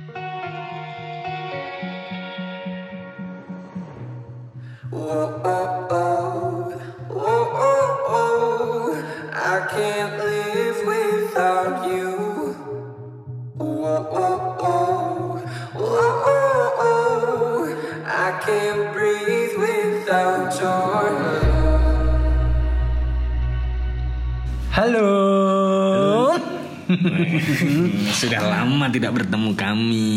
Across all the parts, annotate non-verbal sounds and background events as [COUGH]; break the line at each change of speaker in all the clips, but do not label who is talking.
Oh, oh, can't live without you. Oh, Whoa, whoa, whoa. Whoa, whoa, whoa. oh, I can't breathe without your love.
Halo.
Iya, Sudah lama tidak bertemu kami.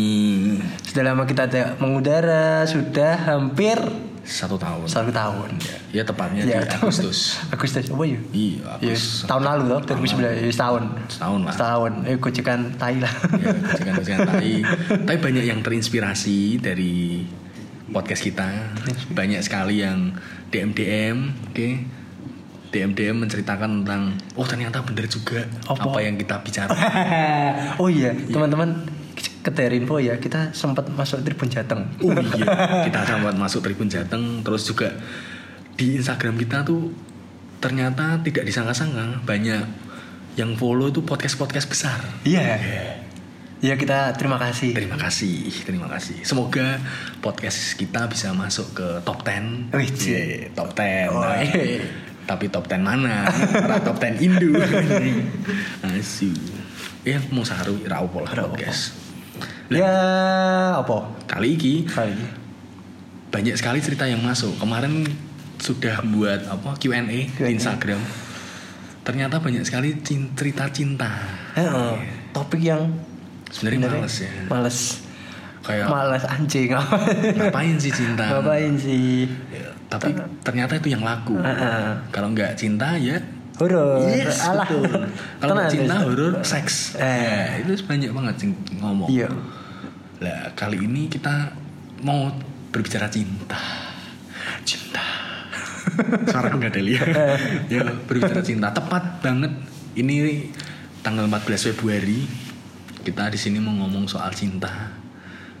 Sudah lama kita tidak mengudara, sudah hampir
Satu tahun.
satu tahun.
Ya tepatnya di
tahun-
Agustus.
Agustus apa ya?
Iya,
Ya,
Agustus.
tahun lalu toh, 2019, ya, setahun.
Setahun lah.
Setahun. Eh gocekan tai lah.
Ya, kucing-kucingan tai. Tapi banyak yang terinspirasi dari podcast kita. Banyak sekali yang DM-DM, oke. DM-DM menceritakan tentang oh ternyata bener juga
Apa?
apa yang kita bicara.
[LAUGHS] oh iya, teman-teman keterinfo ya, kita sempat masuk Tribun Jateng.
Oh iya, kita sempat masuk Tribun Jateng, terus juga di Instagram kita tuh ternyata tidak disangka-sangka banyak yang follow itu podcast-podcast besar.
Iya. Iya kita terima kasih.
Terima kasih, terima kasih. Semoga podcast kita bisa masuk ke top 10.
Wih, cie.
Iya, top 10.
Oh,
Nah,
iya.
Tapi top 10 mana? Ora top 10
[LAUGHS]
Indo. Asu. Ya mau saru ra opo lah
Ra opo.
podcast.
Ya apa?
Kali ini
Kali.
banyak sekali cerita yang masuk. Kemarin sudah buat apa Q&A di
Q&A.
Instagram. Ternyata banyak sekali cin- cerita cinta.
Heeh. Topik yang
Iya. Sebenarnya males ya.
Males.
Kayak
Males anjing.
ngapain sih cinta?
Ngapain sih?
Ya, tapi ternyata itu yang laku.
Heeh.
Kalau nggak cinta ya
Horor.
Yes,
Alah.
betul. Kalau nggak
Tenang,
cinta
Tris.
horor seks.
Eh.
Eh, itu banyak banget yang ngomong.
Iya.
Lah, kali ini kita mau berbicara cinta. Cinta. Suara aku nggak ada lihat. ya, berbicara cinta tepat banget. Ini tanggal 14 Februari kita di sini mau ngomong soal cinta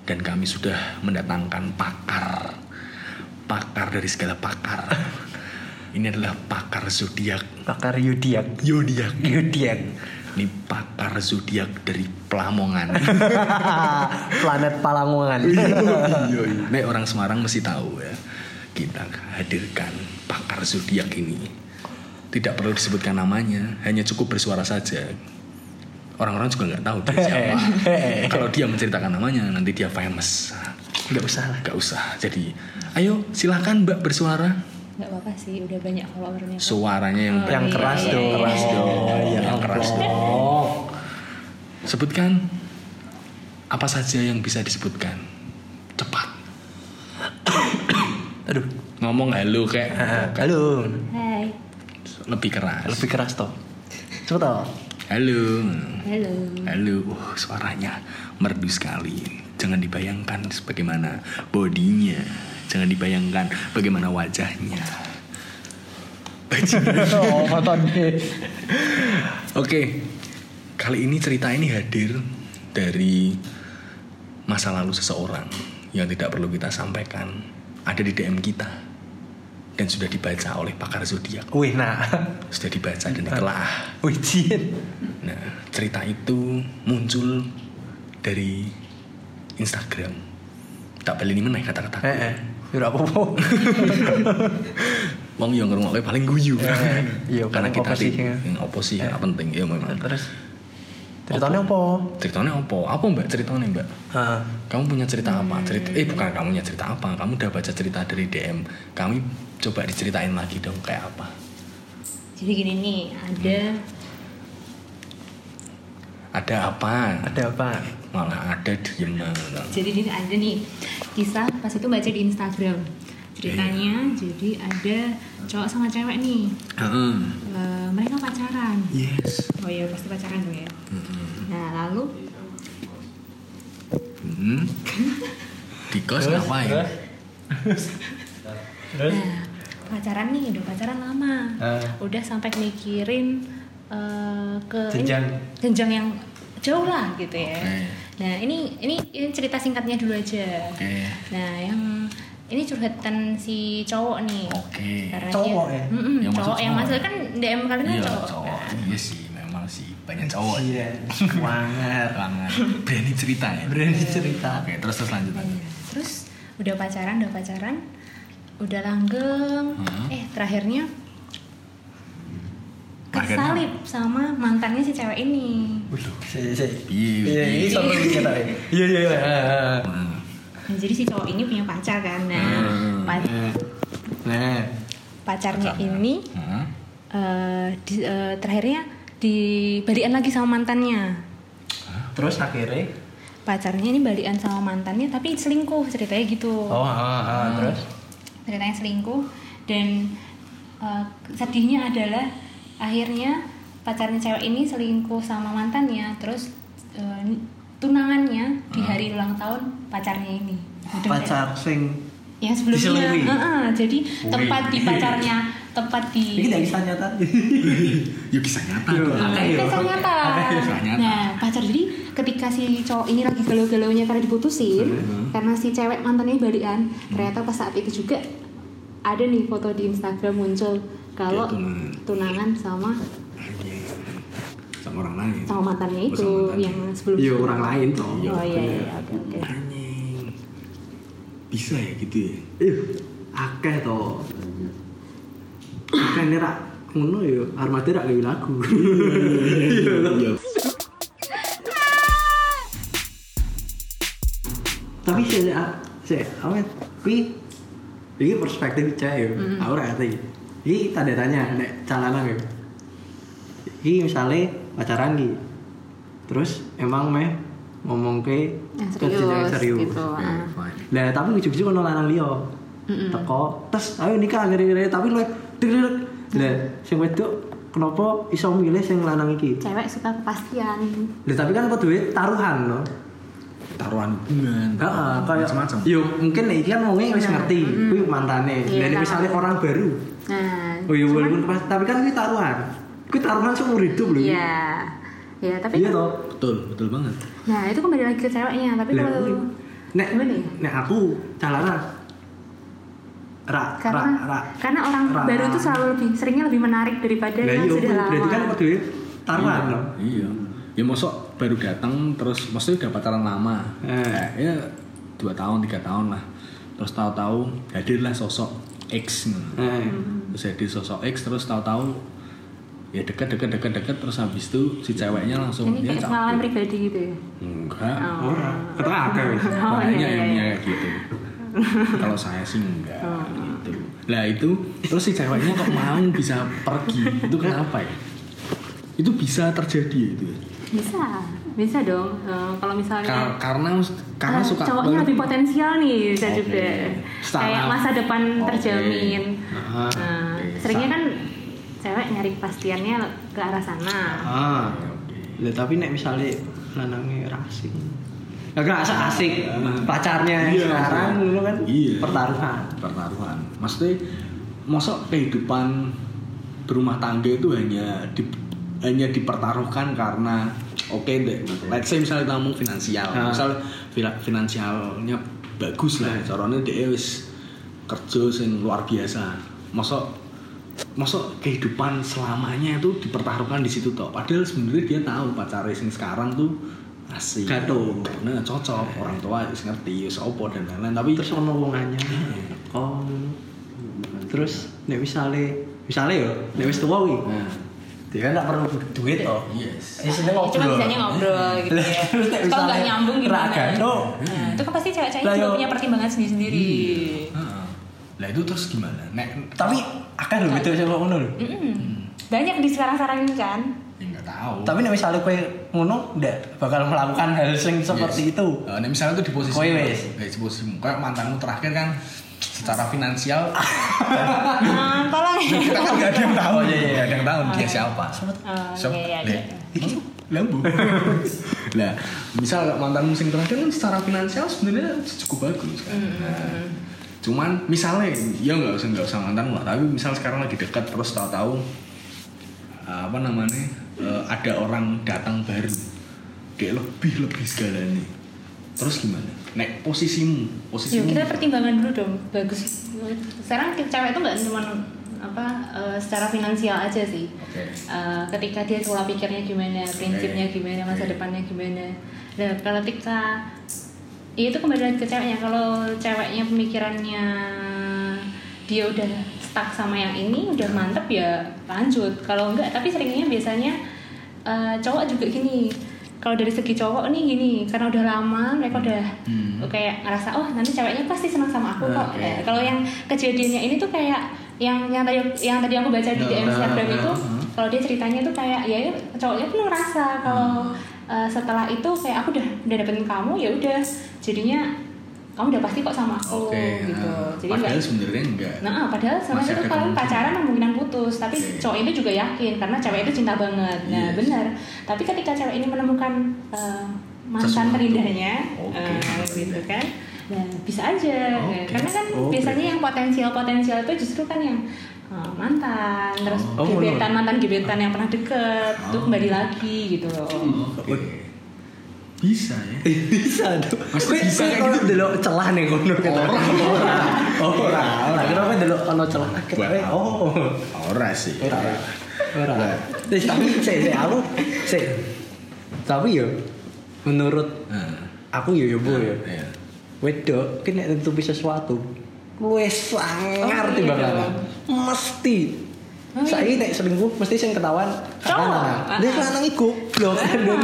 dan kami sudah mendatangkan pakar pakar dari segala pakar. Ini adalah pakar zodiak
Pakar Yudiak.
zodiak.
Yudiak. [LAUGHS]
Ini pakar zodiak dari Pelamongan.
Planet Palangungan.
Iya, iya. Nek orang Semarang mesti tahu ya. Kita hadirkan pakar zodiak ini. Tidak perlu disebutkan namanya, hanya cukup bersuara saja. Orang-orang juga nggak tahu dia
[LAUGHS]
siapa. Kalau dia menceritakan namanya, nanti dia famous.
Enggak usah lah.
Nggak usah. Jadi, ayo silahkan Mbak bersuara.
nggak apa-apa sih udah banyak followernya kok.
Suaranya yang
Yang keras
Iya,
dong.
iya,
keras dong.
Ya
Yang keras
ampun.
dong. Sebutkan apa saja yang bisa disebutkan. Cepat.
Aduh.
Ngomong halo kayak kan
Ah, Halo.
hai
lebih keras.
Lebih keras toh. Coba toh.
Halo.
halo
Halo. Uh, suaranya merdu sekali. Jangan dibayangkan bagaimana bodinya. Jangan dibayangkan bagaimana wajahnya.
[LAUGHS] Oh, foton.
Oke. Kali ini cerita ini hadir dari masa lalu seseorang yang tidak perlu kita sampaikan. Ada di DM kita dan sudah dibaca oleh pakar zodiak.
Wih, nah.
Sudah dibaca dan ditelaah.
Wih, jin.
Nah, cerita itu muncul dari Instagram. Tak beli ini meneh kata-kata.
Eh, eh. Yura apa-apa.
Wong yang ngerungokne paling guyu.
Eh, iya,
[LAUGHS]
paling
Karena kita
opo sih,
ti-
ya.
yang opo sih, yang penting ya memang.
[LAUGHS] Terus ceritanya apa?
Ceritanya opo? Apa Mbak ceritanya Mbak?
Heeh.
Kamu punya cerita apa? Cerita eh bukan kamu punya cerita apa? Kamu udah baca cerita dari DM. Kami coba diceritain lagi dong kayak apa.
jadi gini nih ada
Ada apa?
ada apa?
Malah ada diem.
jadi ini ada nih kisah pas itu baca di Instagram ceritanya jadi ada cowok sama cewek nih
Heeh.
Eh, mereka pacaran
Yes.
oh iya pasti pacaran dong ya nah lalu
Hmm. [LAUGHS] Di kos
Terus?
ngapain?
Terus?
Nah, pacaran nih, udah pacaran lama.
Ah.
Udah sampai mikirin eh, ke ini,
Jenjang.
jenjang yang jauh lah gitu ya.
Oke.
Nah, ini, ini ini cerita singkatnya dulu aja.
Oke.
Nah, yang ini curhatan si cowok nih.
Oke.
Karena
Cowok
dia-
ya?
Mm-mm,
Yang masuk
cowok yang
cowok.
masuk kan DM kalian kan
Iya
cowok.
cowok.
Nah,
Iya sih memang sih banyak cowok.
Iya, wangar.
Banget. Berani cerita ya.
Berani cerita.
Oke terus terus lanjut lanjut.
Iya. Terus udah pacaran, udah pacaran, udah langgeng.
Hmm.
Eh terakhirnya
Terakhir Harganya?
kesalip sama mantannya si cewek ini
Si- si.
Iya. Eh,
Iya, ini satu kita. Iya, iya, iya.
nah, jadi si cowok ini punya pacar kan nah
Hmm.
pa-
eh.
Nah,
pacarnya ini
Hah?
eh, di- eh, terakhirnya dibalikan lagi sama mantannya
terus akhirnya
pacarnya ini balikan sama mantannya tapi selingkuh ceritanya gitu
oh, ah, ah,
Hmm.
terus
ceritanya selingkuh dan eh, sedihnya adalah akhirnya pacarnya cewek ini selingkuh sama mantannya terus eh, tunangannya di hari ulang tahun pacarnya ini Udah kayak-
Hmm. pacar sing
yang Iya, sebelumnya
diselingkuhi.
Heeh, jadi tempat di pacarnya tempat di
ini dari kisah nyata.
Yuk kisah nyata.
Yuk.
dong.
Oke.
Kan
Ayo.
kisah nyata.
Kisah nyata.
Nah, pacar jadi ketika si cowok ini lagi galau-galaunya karena diputusin, karena si cewek mantannya balikan, ternyata pas saat itu juga ada nih foto di Instagram muncul kalau
Dia tunangan.
tunangan sama
Sama orang lain.
sama mantannya
Oh,
itu
sama mantannya. Ya,
yang sebelum
Iya orang lain toh.
Oh iya iya oke oke.
Anjing. Bisa ya gitu ya.
Ih, akeh toh. Akeh ini rak ngono yo, armate rak gawe lagu. Iya toh.
Iya.
Tapi sih sih awet ya? kuwi iki perspektif cah yo. Aku ora ngerti. Iki tanda tanya nek calana yo. Iki misalnya pacaran iki. Terus emang meh ngomong ke
Kan Yang
ke jenjang
serius, gitu. ah.
Lah tapi ujug-ujug ono lanang liya. Teko, tes ayo nikah ngene-ngene tapi lu direk. Lah sing wedok kenapa iso milih sing lanang iki?
Cewek suka kepastian.
Lah tapi kan apa duwe taruhan no.
Taruhan hubungan.
Heeh,
kayak macam-macam.
Yo mungkin nek iki kan wonge wis
Bener.
ngerti,
Mm-mm.
kuwi mantane.
Iya,
Lah nek misalnya
taruhan.
orang baru.
Nah,
Oh iya
cuman-
walaupun pas- tapi kan kuwi taruhan. Kuwi taruhan seumur hidup lho. iki.
Iya. Ya, tapi
Iya
kan-
toh.
Betul, betul banget.
Nah, itu kembali lagi ke ceweknya, tapi
Lah,
kalau
kuwi. Iya. Nek
Gimana ya?
nek aku calana rak rak
karena
rak
karena orang
Ra-
baru itu selalu lebih seringnya lebih menarik daripada
Lah
yang
iya,
sudah lama.
berarti kan kudu taruhan
Iya,
lho.
Iya. Ya mosok baru datang terus maksudnya udah pacaran lama.
Eh.
Eh, ya dua tahun, tiga tahun lah. Terus tahu-tahu hadirlah sosok X.
Eh,
Terus hadir sosok X terus tahu-tahu ya deket deket deket deket terus habis itu si ceweknya langsung
Iya,
Ini
ya
kayak
cabut.
pengalaman pribadi gitu ya.
enggak
ora, ketok akeh wis.
[LAUGHS] Oh,
banyak
iya,
yang
iya, Oh.
punya kayak gitu kalau saya sih enggak gitu lah itu terus si ceweknya kok mau bisa pergi itu kenapa ya itu bisa terjadi ya itu ya?
Bisa, bisa dong. Eh, kalau misalnya
Kar- karena karena
eh,
suka
cowoknya
banget.
lebih potensial nih bisa
Oke.
juga.
Setara.
Kayak masa depan
Oke.
terjamin.
Ah,
Nah,
oke.
seringnya kan cewek nyari kepastiannya ke arah sana.
Ah.
Oke.
Lah tapi nek misale lanange ra asik. Ya gak asik asik pacarnya yang
Iya,
sekarang
iya.
ngono kan
Iya.
pertaruhan.
pertaruhan maksudnya mosok kehidupan berumah tangga itu hanya di, hanya dipertaruhkan karena oke deh let's say misalnya kita ngomong finansial
Ah.
misal fila- finansialnya bagus lah caranya dia wis kerja sing luar biasa mosok mosok kehidupan selamanya itu dipertaruhkan di situ toh padahal sebenarnya dia tahu pacarnya sing sekarang tuh asik
Gaduh.
nah cocok orang tua wis ngerti wis opo dan lain-lain tapi
Terus ono wong anyar.
Hmm.
Oh. Terus nek misale misale yo nek wis tuwa kuwi.
Nah,
Dia kan gak perlu duit toh.
yes.
Di sini
Ya, Cuma
ngobrol.
bisanya ngobrol gitu ya.
[LAUGHS] Terus nek
Kalau nggak
misalnya
nyambung
ra
gimana?
gaduh.
Nah, itu kan pasti cewek-cewek
Lah,
juga
yo. Iya.
punya pertimbangan sendiri-sendiri.
Heeh. Lah itu terus gimana? Nek
Tapi akan lho gitu sih kok ngono lho.
Mm-mm. Banyak di sekarang-sekarang ini kan.
ya nggak tahu.
Tapi nek misalnya kowe ngono ndak bakal melakukan hal sing seperti
Yes.
itu.
Eh, nek misalnya itu di posisi
Kowe wes.
Eh, di posisimu. Kayak mantanmu terakhir kan secara finansial
Ah, tolong.
[LAUGHS]
kita kan nggak ada yang tahu. Ah.
Oh, iya, iya.
Nggak ada yang tahu dia siapa.
Oh,
Siapa?
iya, iya,
Lah,
iya.
iki [LAUGHS] Lambu. Lah, misal kalau mantanmu sing terakhir kan secara finansial sebenarnya cukup bagus kan. Nah, cuman misalnya ya nggak usah nggak usah mantan lah tapi misal sekarang lagi dekat terus tahu-tahu uh, apa namanya uh, ada orang datang baru dia lebih lebih segalanya terus gimana nek posisimu
Yuk,
posisimu
kita pertimbangan dulu dong. Bagus. Sekarang cewek itu nggak cuma apa eh, secara finansial aja sih.
Oke.
Eh, ketika dia pola pikirnya gimana, prinsipnya
Oke.
gimana, masa
Oke.
depannya gimana. Nah, kalau ketika ya itu kembali lagi ke ceweknya. Kalau ceweknya pemikirannya dia udah stuck sama yang ini udah mantep ya lanjut kalau enggak tapi seringnya biasanya eh, cowok juga gini kalau dari segi cowok nih gini karena udah lama mereka udah
Hmm.
kayak ngerasa oh nanti ceweknya pasti senang sama aku kok
Oke.
Eh, kalau yang kejadiannya ini tuh kayak yang yang tadi yang tadi aku baca di
Nah,
DM Instagram itu kalau dia ceritanya tuh kayak ya cowoknya pun ngerasa
Hmm.
kalau eh, setelah itu kayak aku udah udah dapetin kamu ya udah jadinya kamu udah pasti kok sama aku
Oke.
gitu
nah,
jadi
padahal
nggak-
sebenarnya enggak.
Nah, padahal sama
Masih
itu
ada
kalau
kemungkinan.
pacaran kemungkinan putus, tapi
Oke.
cowok itu juga yakin karena cewek itu cinta banget. Nah,
Yes.
benar. Tapi ketika cewek ini menemukan eh, mantan
Sesuatu.
terindahnya,
Oke,
eh,
mantan
gitu
terindah.
kan. Nah, bisa aja.
Oke. Oh,
Karena kan
Oke.
biasanya yang potensial-potensial itu justru kan yang eh, mantan, terus
Oh, menurut.
gebetan mantan gebetan yang pernah deket,
Oh.
tuh kembali lagi gitu loh.
Oke. Bisa ya.
[LAUGHS] bisa tuh
Maksudnya
Kowe-
bisa
kowe
kayak
kalau
gitu?
delok celah nih kono kita
Ora, ora.
oh ora ora kenapa delok ono celah
Buat
kita
apa?
oh
Ora sih.
Ora. ora
Buat.
Eh, tapi sik sik aku sik tapi yo menurut
Nah,
aku yo yo bu yo
iya.
wedok ki nek nutupi sesuatu wis sangar
Oh, iya
timbang
dong.
lanang mesti
Oh, iya.
Saiki nek selingkuh mesti sing ketahuan
Cowok.
lanang. Nek lanang iku goblok.
Tapi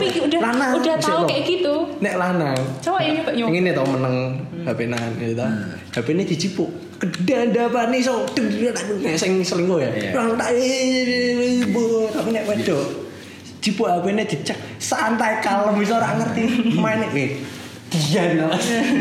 Nah,
udah
Lanang,
udah
bisa
tahu
loh.
kayak gitu,
Nek lanang
cowok yang nyoba nyoba.
Yang ini tau menang
Hmm.
HP nan gitu tau. HP ini dicipuk. Kedanda apa nih so dendam aku nek sing selingkuh ya.
Iya.
Orang tak eh, bu tapi nek wedok. Cipuk HP ini dicek santai kalem bisa orang ngerti main eh. Dia
[LAUGHS]
no.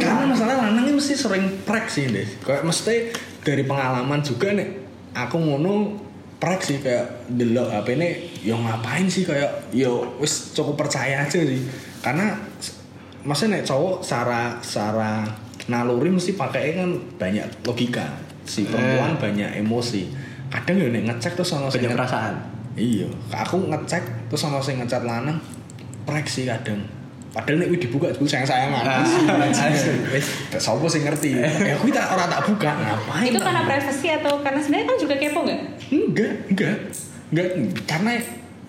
Karena masalah lanang ini mesti sering prek sih deh. Kayak mesti dari pengalaman juga nih. Aku ngono prek sih kayak delok HP ini yo ngapain sih kayak yo wis cukup percaya aja sih. Karena s- maksudnya nek cowok secara secara naluri mesti pakai kan banyak logika. Si perempuan banyak emosi. Kadang yo nek ngecek terus sama
Banyak perasaan.
Iya, aku ngecek terus sama sing ngecat lanang prek sih kadang. Padahal nek wis dibuka dulu sayang sayangan. Sopo sing ngerti? Ya aku tak ora tak buka ngapain?
Itu
tak
karena
buka?
privasi atau karena sebenarnya kan juga kepo nggak?
Enggak, enggak. Enggak karena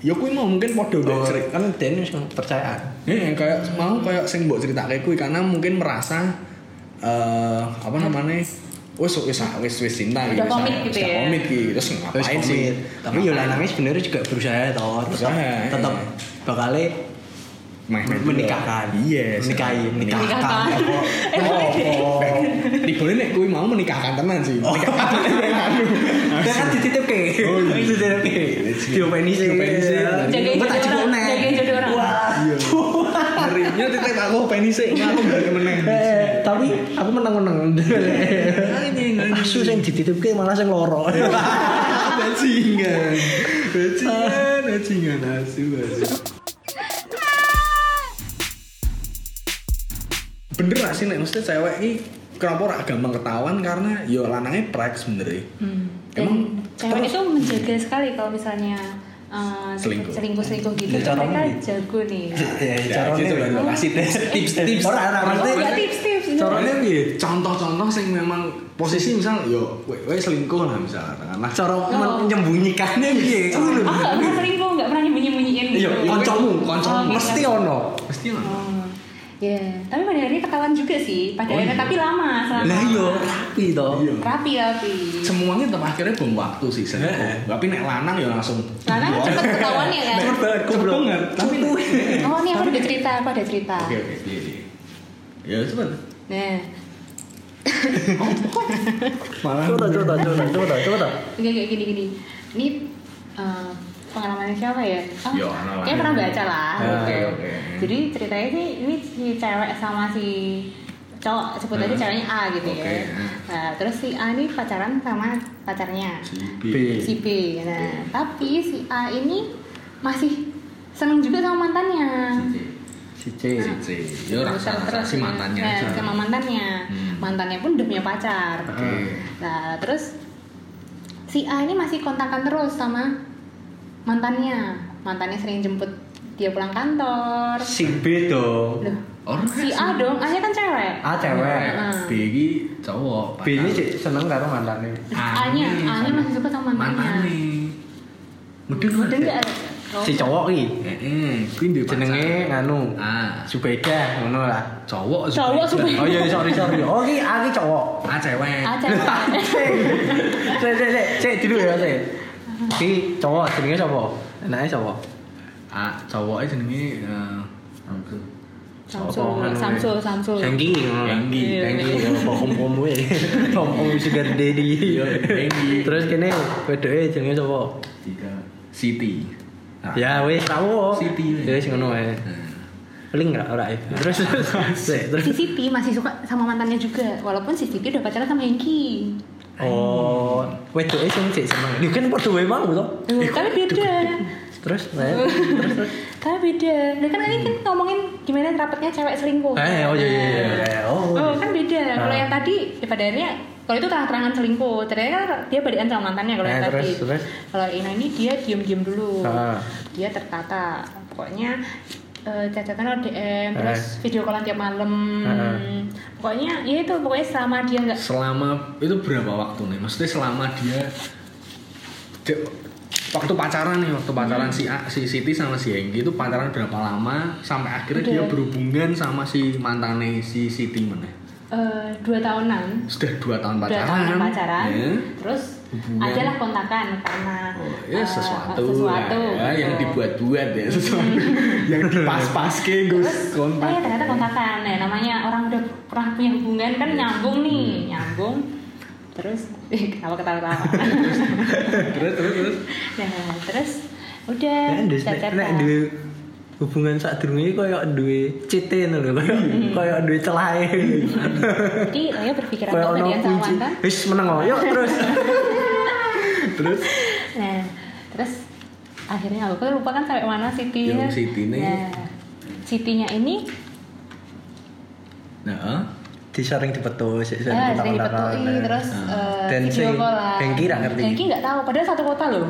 ya kuwi mau mungkin podo
Oh,
oh.
kan Den wis percayaan.
Iya, kayak mau kayak sing mbok critakake kuwi karena mungkin merasa eh apa namanya? Wis wis wis wis cinta
Udah
misalnya.
komit gitu
Udah
ya.
Komit gitu. Terus
Terus
ngapain sih?
komit. Tapi yo
Ngapain?
lanangnya sebenarnya juga berusaha tau. Tetap
Berusaha, iya.
tetap bakalnya
Meh- meh-
eh, menikahkan.
Yes.
Menikahi, menikahkan.
Menikahkan.
[LAUGHS]
Apa? Apa?
Di boleh nek kuwi mau menikahkan tenan sih. Menikahkan tenan.
Dia kan dititip ke.
Oh, iya.
Dititip ke. Diopeni sih.
Diopeni sih.
Jagain
Mbak tak cukup
jodoh orang,
nek.
jagain jodoh orang.
Wah.
Iya. Ngerinya titik aku penis sik ngaku balik meneh.
Eh, tapi aku menang-menang. [LAUGHS] Asu sing dititip ke malah sing loro.
Bajingan. Bajingan, bajingan asu asu. Bener gak sih nek mesti cewek ini kenapa ora gampang ketahuan karena yo lanangnya prek sebenernya.
Hmm. Dan
Emang
cewek itu menjaga sekali kalau misalnya uh,
Selingkuh.
selingkuh selingkuh gitu
Ya, caranya
mereka
gitu.
jago
[LAUGHS]
nih
Ya,
gitu lah,
caranya.
dong.
Kasih tips, tips, tips. Orang orang
Enggak,
maksudnya.
tips tips
Soalnya piye? Contoh-contoh sing memang posisi misal yo we, we selingkuh lah misal katakanlah.
Cara menyembunyikannya piye? Ngono
oh
lho.
Iya.
nggak pernah selingkuh nggak pernah nyembunyi nyembunyiin gitu
Iya, kancamu, kancamu
Oh,
mesti
iya.
ono.
Pasti lah.
Oh, ya tapi pada akhirnya ketahuan juga sih pada akhirnya tapi lama
Oh, iya.
selama
Lah yo rapi to.
Iya.
rapi rapi
Semuanya tetap akhirnya bom waktu sih selingkuh. Tapi nek lanang ya langsung.
karena
Wah.
cepet ketahuan ya kan
Cepet banget,
Cepet
goblok.
banget. Tapi
oh ini aku ada cerita aku ada cerita
Oke oke. iya, iya. Ya cepet.
nah
Malah.
Coba, coba, coba, coba, coba.
Enggak kayak gini gini. Ini eh, pengalaman siapa ya? Oh,
Ya, orang lain.
kayak pernah baca lah.
Ah,
gitu.
oke, oke.
Jadi ceritanya ini ini si cewek sama si cowok sebut aja
Hmm.
ceweknya A gitu
Oke. hmm.
ya. Nah, terus si A ini pacaran sama pacarnya
Si B.
si B. Nah, tapi si A ini masih seneng juga sama mantannya.
Si C. Si C. Ya rasa rasa si mantannya.
Nah,
aja.
sama mantannya
Hmm.
mantannya pun udah punya pacar
Oke.
nah terus si A ini masih kontakkan terus sama mantannya mantannya sering jemput dia pulang kantor
Si B dong.
Loh,
Orang
si A dong A nya kan cewek
Ah cewek.
Heeh.
B ini cowok.
B ini
pacar.
sih seneng karo mantannya.
A nya A nya masih suka sama mantannya
Mantannya. Mudeng
udah
nggak?
enggak
si cowok iki
Heeh, kuwi duwe pacar.
jenenge nganu
Ah.
Subeda ngono lah
cowok
Cowok
Zubeda.
oh iya sorry
[LAUGHS]
sorry oh iki ah, iki cowok
ah cewek
Ah,
[LAUGHS]
cewek.
Cek, cek, cek, cek dulu ya, cek. Ki cowok jenenge sapa? Enake sapa?
ah cowoknya jenenge eh,
Samsul, Samsul, Samsul.
Hengki.
Hengki.
Hengki. Om-om
[LAUGHS]
kuwe. Om-om sugar daddy.
Iya, Hengki.
Terus kene wedoke jenenge sapa?
Siti Ah.
Ya wis tahu.
Siti.
Wis ngono ae. Paling enggak ora ya. [LAUGHS] Terus cek, terus.
Si Siti masih suka sama mantannya juga, walaupun si Siti udah pacaran sama Hengki.
Oh, wedoke sing cek seneng. Lho kan padha wae mau to.
Eh, Tapi beda,
Terus, nah, terus, terus.
[LAUGHS] tapi beda. Nah, kan ini kan ngomongin gimana rapatnya cewek selingkuh.
Eh, oh iya iya iya, iya. Oh.
Oh,
iya.
kan beda. Kalau
Ah.
yang tadi ya pada akhirnya kalau itu terang-terangan selingkuh, ternyata kan dia balikan sama mantannya kalau yang
Nah, terus,
tadi.
terus?
Kalau Ina ini dia diam-diam dulu.
Ah.
Dia tertata. Pokoknya eh, cacatan ODM, terus
Ah.
video callan tiap malam.
Ah.
Pokoknya ya itu pokoknya selama dia nggak
selama itu berapa waktu nih maksudnya selama dia dia- waktu pacaran nih waktu pacaran
Hmm.
si A- si Siti sama si Hengki itu pacaran berapa lama sampai akhirnya dia
Udah.
berhubungan sama si mantannya si Siti mana
eh, dua tahunan,
sudah dua tahun
dua
pacaran
tahunan pacaran,
Ya.
terus
Hubungan.
adalah kontakan karena
Oh, ya
eh,
sesuatu,
sesuatu
ya, yang
gitu.
dibuat-buat ya
[LAUGHS]
sesuatu yang dipas-pas ke Gus
terus kontak.
kontak
ternyata kontakan ya namanya orang udah pernah punya hubungan kan
Iya.
nyambung nih
Hmm.
nyambung terus [LAUGHS] eh, kenapa ketawa-tawa
[LAUGHS] terus terus terus Nah,
nah, terus udah
Nek ndus- nek-
chat-chatan.
nek duwe hubungan sak durunge koyo duwe CT ngono lho, koyo koyo duwe celahe.
jadi Leo berpikiran
Koyo
apa
ono
tadi sama kan.
kunci.
mantan
Wis meneng oh, yuk
[LAUGHS]
terus.
terus
nah terus akhirnya aku kan lupa kan sampai mana Siti
Yang Siti ini.
nah, Sitinya ini
nah eh.
Disaring dipetus, sik
eh, sering dipetui terus eh,
Ah. Dan
video
si
call lah.
Hengki nggak ngerti.
Hengki nggak tahu, padahal satu kota loh.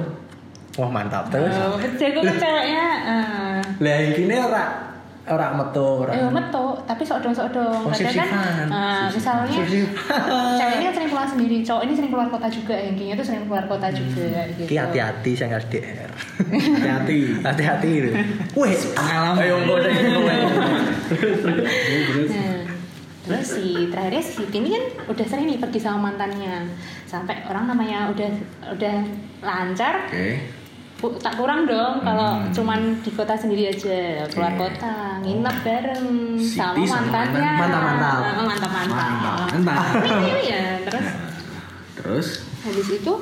Wah, mantap terus.
Oh, jago kan ceweknya. eh,
Lah iki ne ora ora metu ora.
Eh, metu, tapi sok dong sok
Oh,
dong. Kadang
sip-sipan.
kan, eh, misalnya cewek ini kan sering pulang sendiri, cowok ini sering keluar kota juga, Hengkinya tuh sering keluar kota juga.
Ki Hmm.
Gitu.
Iya, hati-hati sing
[LAUGHS]
LDR.
hati-hati
Hati-hati lho. Weh,
pengalaman
ayo engko sing ngomong.
Terus, terus
Nah, terus si terakhirnya si Siti ini kan udah sering nih pergi sama mantannya, sampai orang namanya udah udah lancar,
oke
ku- tak kurang dong kalau cuman di kota sendiri aja keluar
Oke.
kota nginep bareng
Siti
sama
sama
mantannya
mantan. Mantap-mantap.
mantap mantap
mantap mantap
ya terus
Nah, terus
habis itu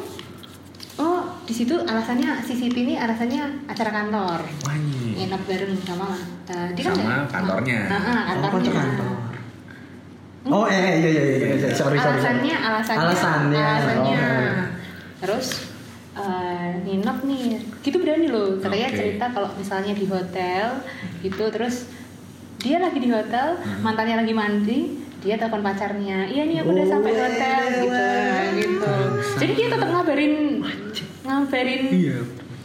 oh di situ alasannya si Siti ini alasannya acara kantor
wanyi
nginep bareng sama eh, dia
Sama
nggak-
kantornya.
Ah, ah,
Oh, kocok
kantornya
kantor. Oh, eh, eh, iya, iya, iya, iya, sorry, sorry, sorry.
alasannya alasannya
Alasannya.
alasannya.
Oh.
terus eh, nginep nih gitu berani loh katanya
Oke.
cerita kalau misalnya di hotel gitu terus dia lagi di hotel
Hmm.
mantannya lagi mandi dia telepon pacarnya iya nih aku udah sampai
Weh,
hotel gitu
iya.
gitu jadi dia tetap ngabarin ngabarin
Iya.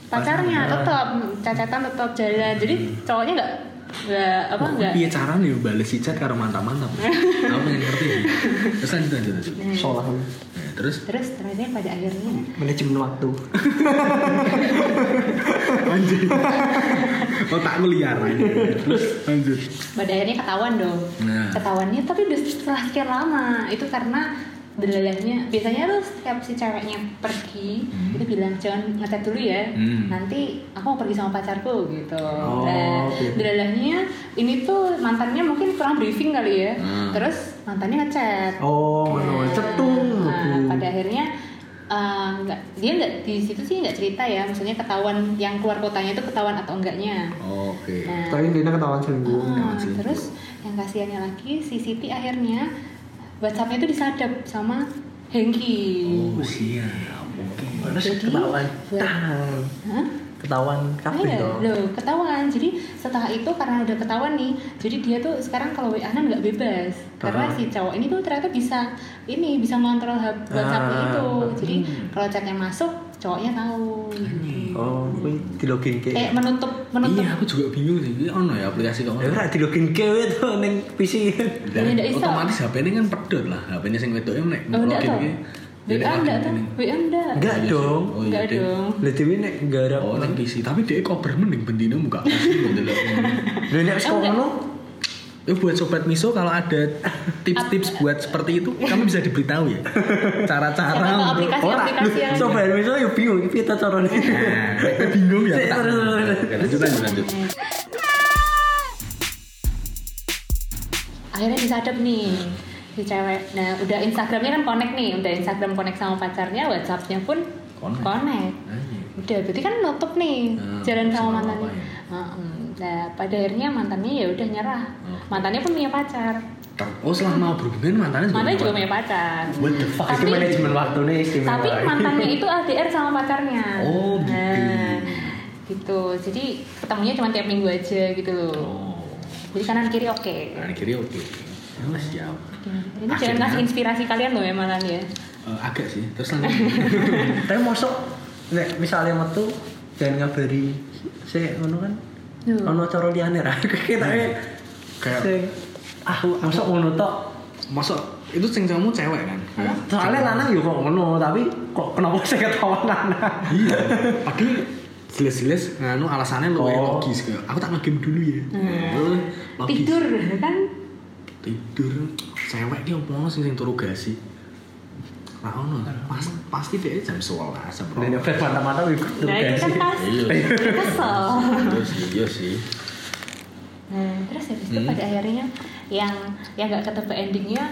pacarnya tetap cacatan tetap jalan jadi
Hmm.
cowoknya nggak nggak apa nggak
Iya cara nih bales si chat karo
[LAUGHS]
mantap-mantap. Aku pengen ngerti. Terus lanjut lanjut lanjut.
Nah,
Salah.
Nah, terus
terus ternyata pada akhirnya
Manajemen waktu.
lanjut. Otakku liar aja. Oh, Terus lanjut.
pada akhirnya ketahuan dong
Nah.
ketahuannya tapi udah setelah sekian lama itu karena belalainya biasanya tuh setiap si ceweknya pergi
Hmm.
itu bilang jangan ngechat dulu ya
Hmm.
nanti aku mau pergi sama pacarku gitu
Oh,
nah
oke.
belalainya ini tuh mantannya mungkin kurang briefing kali ya
Hmm.
terus mantannya ngechat
Nah. Oh, ngono. Cetung.
Iya. Nah, pada akhirnya eh, nggak dia nggak di situ sih nggak cerita ya maksudnya ketahuan yang keluar kotanya itu ketahuan atau enggaknya
Oke.
nah
Tapi Dina ketahuan selingkuh.
Ah, terus yang kasihannya lagi si Siti akhirnya WhatsAppnya itu disadap sama Hengki.
Oh, siap. Oke.
Terus
Jadi,
ketahuan.
buat-
Tang.
Hah?
Ketahuan kabeh
Iya,
dong.
loh ketahuan. Jadi setelah itu karena udah ketahuan nih, jadi dia tuh sekarang kalau WA nggak bebas. Karena
Ah.
si cowok ini tuh ternyata bisa ini bisa ngontrol hub- WhatsApp
Ah.
itu. Jadi kalau chatnya masuk, cowoknya tahu. gitu.
Oh, kuwi dilogin ke.
Eh menutup menutup.
Iya, aku juga bingung sih. Ini ono ya aplikasi kok.
Ya ora dilogin ke wae to ning PC.
Ini ndak iso.
Otomatis HP ini kan pedot lah. HP ini sing wedoknya nek
Iya, Oh, ndak
login
iso.
iki.
WA enggak kan? WA enggak.
Enggak dong.
Oh
Enggak
iya deh.
dong.
Lah dewe nek enggak ada.
Oh,
Lah
nang PC. Tapi dia kober mending bendino muka kasih kok delok.
nek wis kok ngono
Ya buat sobat miso kalau ada tips-tips buat seperti itu, kamu bisa diberitahu ya.
Siapa tahu
Cara-cara untuk
ora.
aplikasi-aplikasi yang
Sobat miso yo ya bingung iki ta carane.
Nah, nek bingung ya.
Sik,
tak.
terus, terus, terus.
Oke, Lanjut lanjut lanjut.
akhirnya disadap nih si cewek. Nah, udah Instagramnya kan connect nih, udah Instagram connect sama pacarnya, WhatsAppnya pun
Connect.
connect.
Nah, iya.
Udah, berarti kan nutup nih
Nah,
jalan
sama
sama
apa
mantannya.
ya?
Heeh. Nah, pada akhirnya mantannya ya udah nyerah.
Oke.
Mantannya pun punya pacar.
Oh, selama berhubungan mantannya juga.
Mantannya juga punya pacar.
What the fuck?
Itu
Tapi-
manajemen waktune istimewa.
Tapi mantannya itu LDR sama pacarnya.
Oh, gitu.
Nah, gitu. Jadi ketemunya cuma tiap minggu aja gitu loh.
Oh.
Jadi kanan kiri oke.
Nah, kiri oke. Ya, siap.
Ini jangan
Akhirnya-
kasih inspirasi kalian loh ya malah ya.
Eh, agak sih. Terus lanjut.
Tapi mosok nek misalnya metu jangan ngabari sik ngono kan.
Yo.
Ono cara liyane ra. [LAUGHS] Kita
Kayak-
kayak aku mosok ngono tok.
Masuk itu sing kamu cewek kan? Kayak
Soalnya
cewek.
lanang yo kok ngono, tapi kok kenapa saya ketawa lanang?
[LAUGHS]
Iya. Padahal jelas-jelas nganu alasannya lo
Oh.
logis kayak, aku tak ngegame dulu ya. Eh, logis.
Tidur kan
Tidur. Cewek ki opo sing sing turu gasi? Nah, ono kan Pas, pasti dia jam 11 jam
Dan
12.
nyopet mata-mata wih kudu
Nah itu
guys.
kan pas
Iya.
Kesel
Iya sih, iya sih.
Nah terus habis itu
Hmm.
pada akhirnya Yang yang gak ketebak endingnya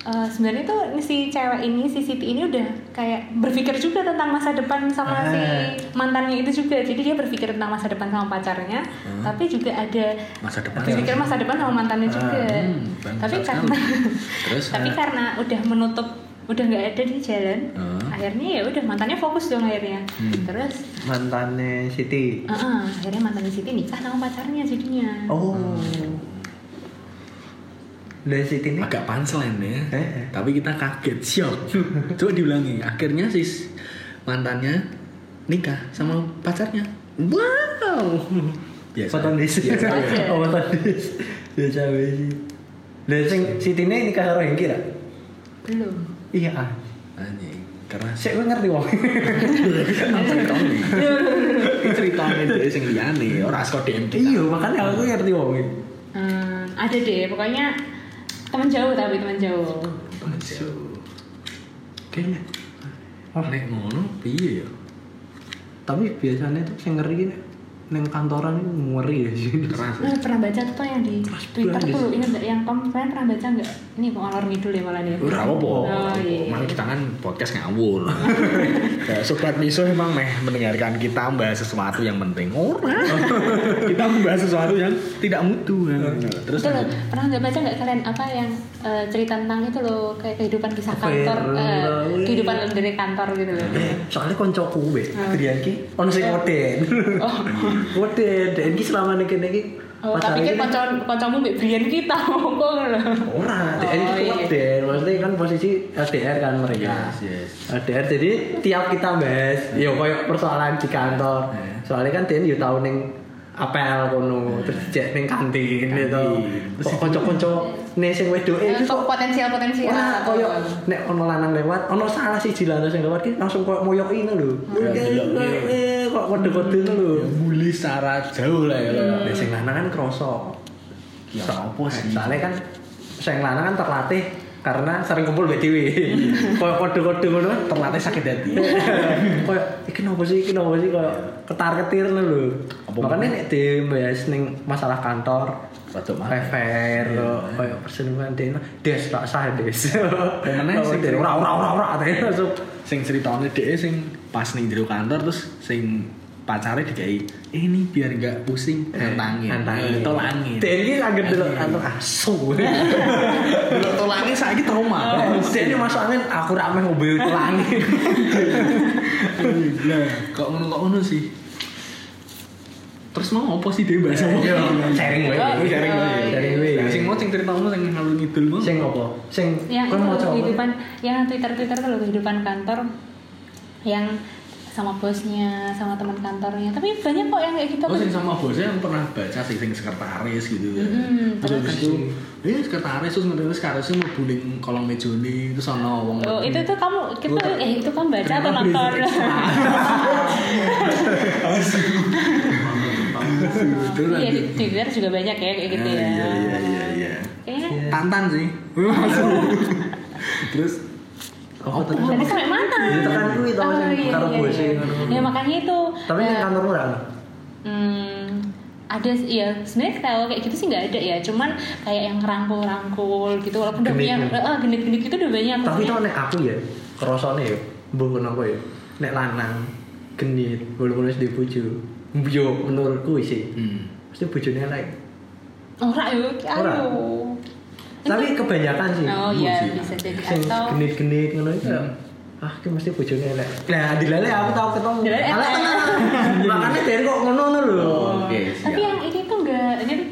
eh, sebenarnya tuh si cewek ini, si Siti ini udah kayak berpikir juga tentang masa
Ah.
depan sama si mantannya itu juga Jadi dia berpikir tentang masa depan sama pacarnya Tapi juga ada
Ah. Masa depan.
berpikir masa depan sama mantannya juga
Hmm, bangsat
Tapi
sekali.
karena
[LAUGHS] Terus? eh.
[LAUGHS] Tapi karena udah menutup udah nggak ada di jalan
Hmm.
akhirnya ya udah mantannya fokus dong akhirnya terus
Mantannya Siti.
Ah, akhirnya mantan Siti nikah sama pacarnya jadinya.
Oh.
Hmm.
Dari Siti ini
agak punchline ya
Eh, eh.
tapi kita kaget shock coba diulangi akhirnya si mantannya nikah sama pacarnya wow biasa
Weton dis.
Biasa.
[LAUGHS] Oh, weton dis. Biasa wae sih. Lah sing Sitine nikah karo Hengki ra?
Belum.
Iya. ah.
anjing karena [LAUGHS]
Sik kowe ngerti [LAUGHS] wong.
ceritanya dia yang liane orang asal DMD
Iya, makanya aku ngerti wong.
Hmm, ada deh, pokoknya teman jauh tapi teman jauh.
Kayaknya.
nek ngono piye ya
Tapi biasanya tuh sing ngeri nek neng kantoran itu ngeri ya sih.
keras ya.
Nah, pernah baca tuh yang di Twitter
banget.
tuh, ingat nggak yang kamu kalian pernah baca nggak? Ini kok ngalor ngidul ya malah nih.
Ora apa-apa.
Oh, iya.
Emang kita kan podcast ngawur. [LAUGHS] ya, sobat miso emang meh mendengarkan kita membahas sesuatu yang penting. Ora. [LAUGHS] kita membahas sesuatu yang tidak mutu. ya. Terus
Itu loh, pernah nggak baca nggak kalian apa yang eh, cerita tentang itu loh kayak kehidupan kisah
Apa ya?
kantor, eh,
Oh, iya.
kehidupan dari kantor gitu loh.
Eh, Soalnya koncoku be, Trian ki, ono sing ngoden. [LAUGHS]
Ah. Oh,
Ngoden, dan ki selama nek kene ki.
oh tapi kan kocok kocokmu Mbak Brian kita [LAUGHS] ngomong loh.
Ora,
Oh,
DN itu
iya.
LDR, maksudnya kan posisi LDR kan mereka.
Yes, yes.
LDR, jadi tiap kita bahas, yo koyo persoalan di kantor.
Eh.
Soalnya kan DN yo tau ning apel kono, terus dicek ning kantin gitu.
Terus
Terus kanca-kanca ne sing wedoke
Eh,
iki kok
kok potensial potensial.
Wah, koyo nek ono lanang lewat, ono salah siji lanang sing lewat ki langsung koyo moyoki ngono lho.
Iya, iya, iya.
Eh, Kok kode-kode ngono lho.
bully secara jauh lah ya.
Nek sing lanang kan kroso.
Ya apa sih?
Soalnya kan saya lanang kan terlatih karena sering kumpul BTW. [LAUGHS] Kayak kode-kode ngono kan
Terlatih sakit hati.
[LAUGHS] kayak iki nopo sih, iki nopo sih kayak ketar-ketir lho.
Apa
Makanya
bener?
nek dibahas ning masalah kantor,
Waduh mah.
fair kayak perselingkuhan dene des tak sah des.
meneh
Kayak
sih,
des, ora ora ora ora teh langsung
Sing ceritanya dia sing pas nih jero kantor terus sing pacarnya dikai ini biar nggak pusing nantangin
Nantangin.
Eh, tolangin
Dene iki anggere delok kantor [LAUGHS] asu.
Delok tolangin saiki trauma
Dene masuk angin aku ra meh ngombe langit.
Lah, kok ngono kok ngono sih? Terus mau apa sih dia bahasa apa?
Sharing wae.
Oh,
Sharing wae.
iya.
Sharing wae.
Nah, Sing mau sing cerita ngono sing ngalung ngidul mau.
sing apa? Sing
yang
kan
Ya, itu ya,
mau
loh,
coba.
kehidupan yang twitter twitter tuh loh kehidupan kantor yang sama bosnya sama teman kantornya tapi banyak kok yang kayak gitu
Oh, sing sama bosnya yang pernah baca sing sing sekretaris gitu ya.
Mm-mm,
terus
terus-
habis itu, iya sekretaris terus ngerti sekretaris mau buling kolong mejoni terus ana wong.
Oh, itu tuh kamu itu
Gua-
eh itu kamu baca atau
Ternyata
[LAUGHS]
nonton
Itu
iya
lagi.
di Twitter juga banyak ya kayak gitu ya
Ah, Iya [LAUGHS] iya
[LAUGHS]
iya iya.
kayaknya
Tantan
[LAUGHS]
sih. terus
Oh,
tapi sampai mana Oh, iya,
Iya, tekan kuwi tau, sing karo bose ngono.
ya makanya itu
Tapi ya. yang
eh,
kantor murah. lho.
Hmm, ada sih- ya sebenarnya kalau kayak gitu sih nggak ada ya cuman kayak yang rangkul-rangkul gitu walaupun udah punya
Genit. ya.
eh, genit-genit itu udah banyak
Tapi
Maksudnya,
tau nek aku ya, kerosone ya, mbuh kenapa ya? Nek lanang genit, walaupun wis duwe bojo. Yo menurutku sih.
hmm.
Mesti bojone elek.
ora yo anu.
Ora.
ayo
Tapi kebanyakan sih.
oh
Iya
iya
sih.
bisa jadi
Sing
atau
genit-genit ngono itu. ya,
Hmm.
Ah, ki mesti bojone elek. Nah, dilele aku tau ketemu.
Dilele elek.
Elek tenan. Makane dari kok ngono-ngono lho.
Oh, Oke, siap.
tapi yang ini tuh enggak ini tuh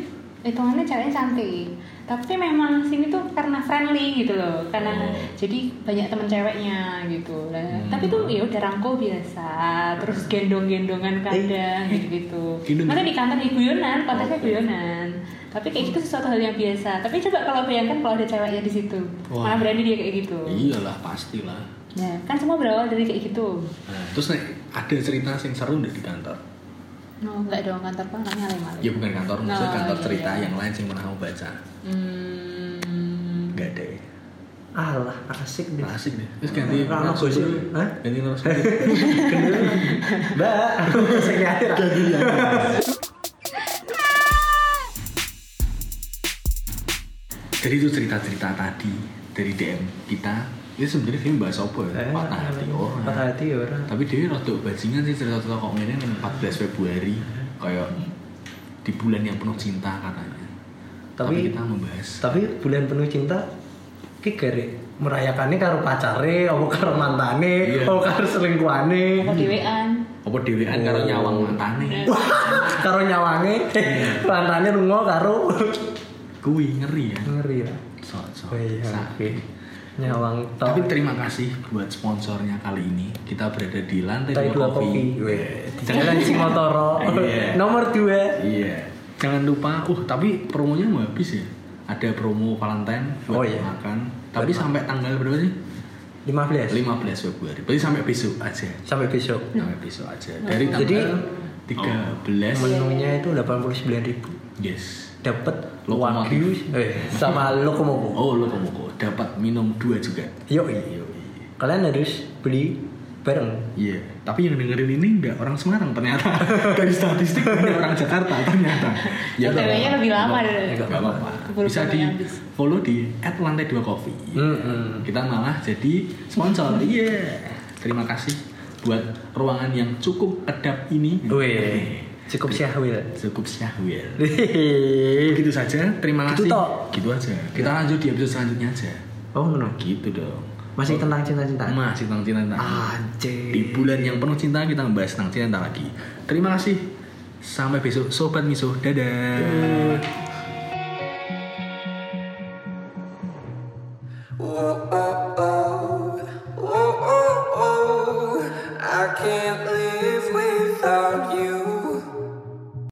hitungannya ceweknya cantik tapi memang sini tuh karena friendly gitu loh
Oh.
karena jadi banyak temen ceweknya gitu Nah,
Hmm.
tapi tuh ya udah rangkul biasa terus gendong-gendongan kadang gitu gitu
Eh. Gendong.
mana di kantor ya guyonan konteksnya guyonan tapi kayak gitu sesuatu hal yang biasa tapi coba kalau bayangkan kalau ada ceweknya di situ
Wah.
mana berani dia kayak gitu
Iyalah pastilah.
ya kan semua berawal dari kayak gitu
Nah, terus nek ada cerita sing seru ndak di kantor?
no nggak dong kantor kan orangnya maling
Ya bukan kantor, maksudnya
Oh,
kantor
iya,
cerita
iya.
yang lain sing pernah aku baca.
hmm,
Enggak ada. ya.
Alah, asik nih.
Klasik Nah, nih. Terus ganti
Rano
narasumber.
gosip. Hah?
Ganti narasumber.
[LAUGHS] Mbak, aku sekreatif.
Jadi itu cerita-cerita tadi dari DM kita. Itu sebenarnya film bahas apa ya? Patah hati orang.
Eh, Patah hati orang.
Tapi dia rada bajingan sih cerita-cerita kok ngene yang 14 Februari kayak di bulan yang penuh cinta katanya. Tapi,
Tapi-
kita membahas
Tapi bulan penuh cinta ki gere merayakannya karo pacare, apa karo mantane,
Iya.
apa karo
apa
selingkuhane,
di WA-an?
apa dhewean
Oh.
karo nyawang mantane.
karo nyawange, mantane lunga karo
Kuwi ngeri ya.
ngeri ya.
So, so,
Oh iya,
sa-
oke. Nyawang tok.
Tapi terima kasih buat sponsornya kali ini. Kita berada di lantai
Tapi dua kopi. Weh, di Jalan Singotoro.
Iya.
Nomor 2.
Iya. Jangan lupa, uh tapi promonya mau habis ya. Ada promo Valentine
Oh,
buat
iya.
makan. Tapi sampai tanggal berapa sih?
15.
15 Februari. Berarti sampai besok aja.
Sampai besok.
Sampai besok aja. Dari tanggal
Jadi, Oh.
13.
Menunya itu 89.000.
Yes.
Dapat
Lokomotif.
wagyu eh, sama lokomotif.
Oh, lo kamu dapat minum dua juga.
Yoi. kalian harus beli bareng
Iya, tapi yang dengerin ini nggak orang Semarang ternyata [LAUGHS] dari statistik ini orang Jakarta ternyata.
Iya,
nggak
OTW-nya
apa-apa.
lebih lama
Nggak
deh.
nggak apa-apa.
Keburu
Bisa
sampai
di
habis.
follow di lantai 2 coffee.
Hmm. Mm-mm.
Kita malah jadi sponsor. Iya. Terima kasih buat ruangan yang cukup kedap ini.
Weh, cukup syahwil
Cukup syahwil.
[LAUGHS] Hehehe.
Gitu saja. Terima
Gitu,
kasih.
toh.
Gitu aja. Kita lanjut di episode selanjutnya aja.
oh no
Gitu dong.
masih tentang cinta-cintaan
Masih tentang cinta.
anjir
Di bulan yang penuh cinta kita membahas tentang cinta lagi. Terima kasih. Sampai besok sobat misuh. Dadah.
Oh,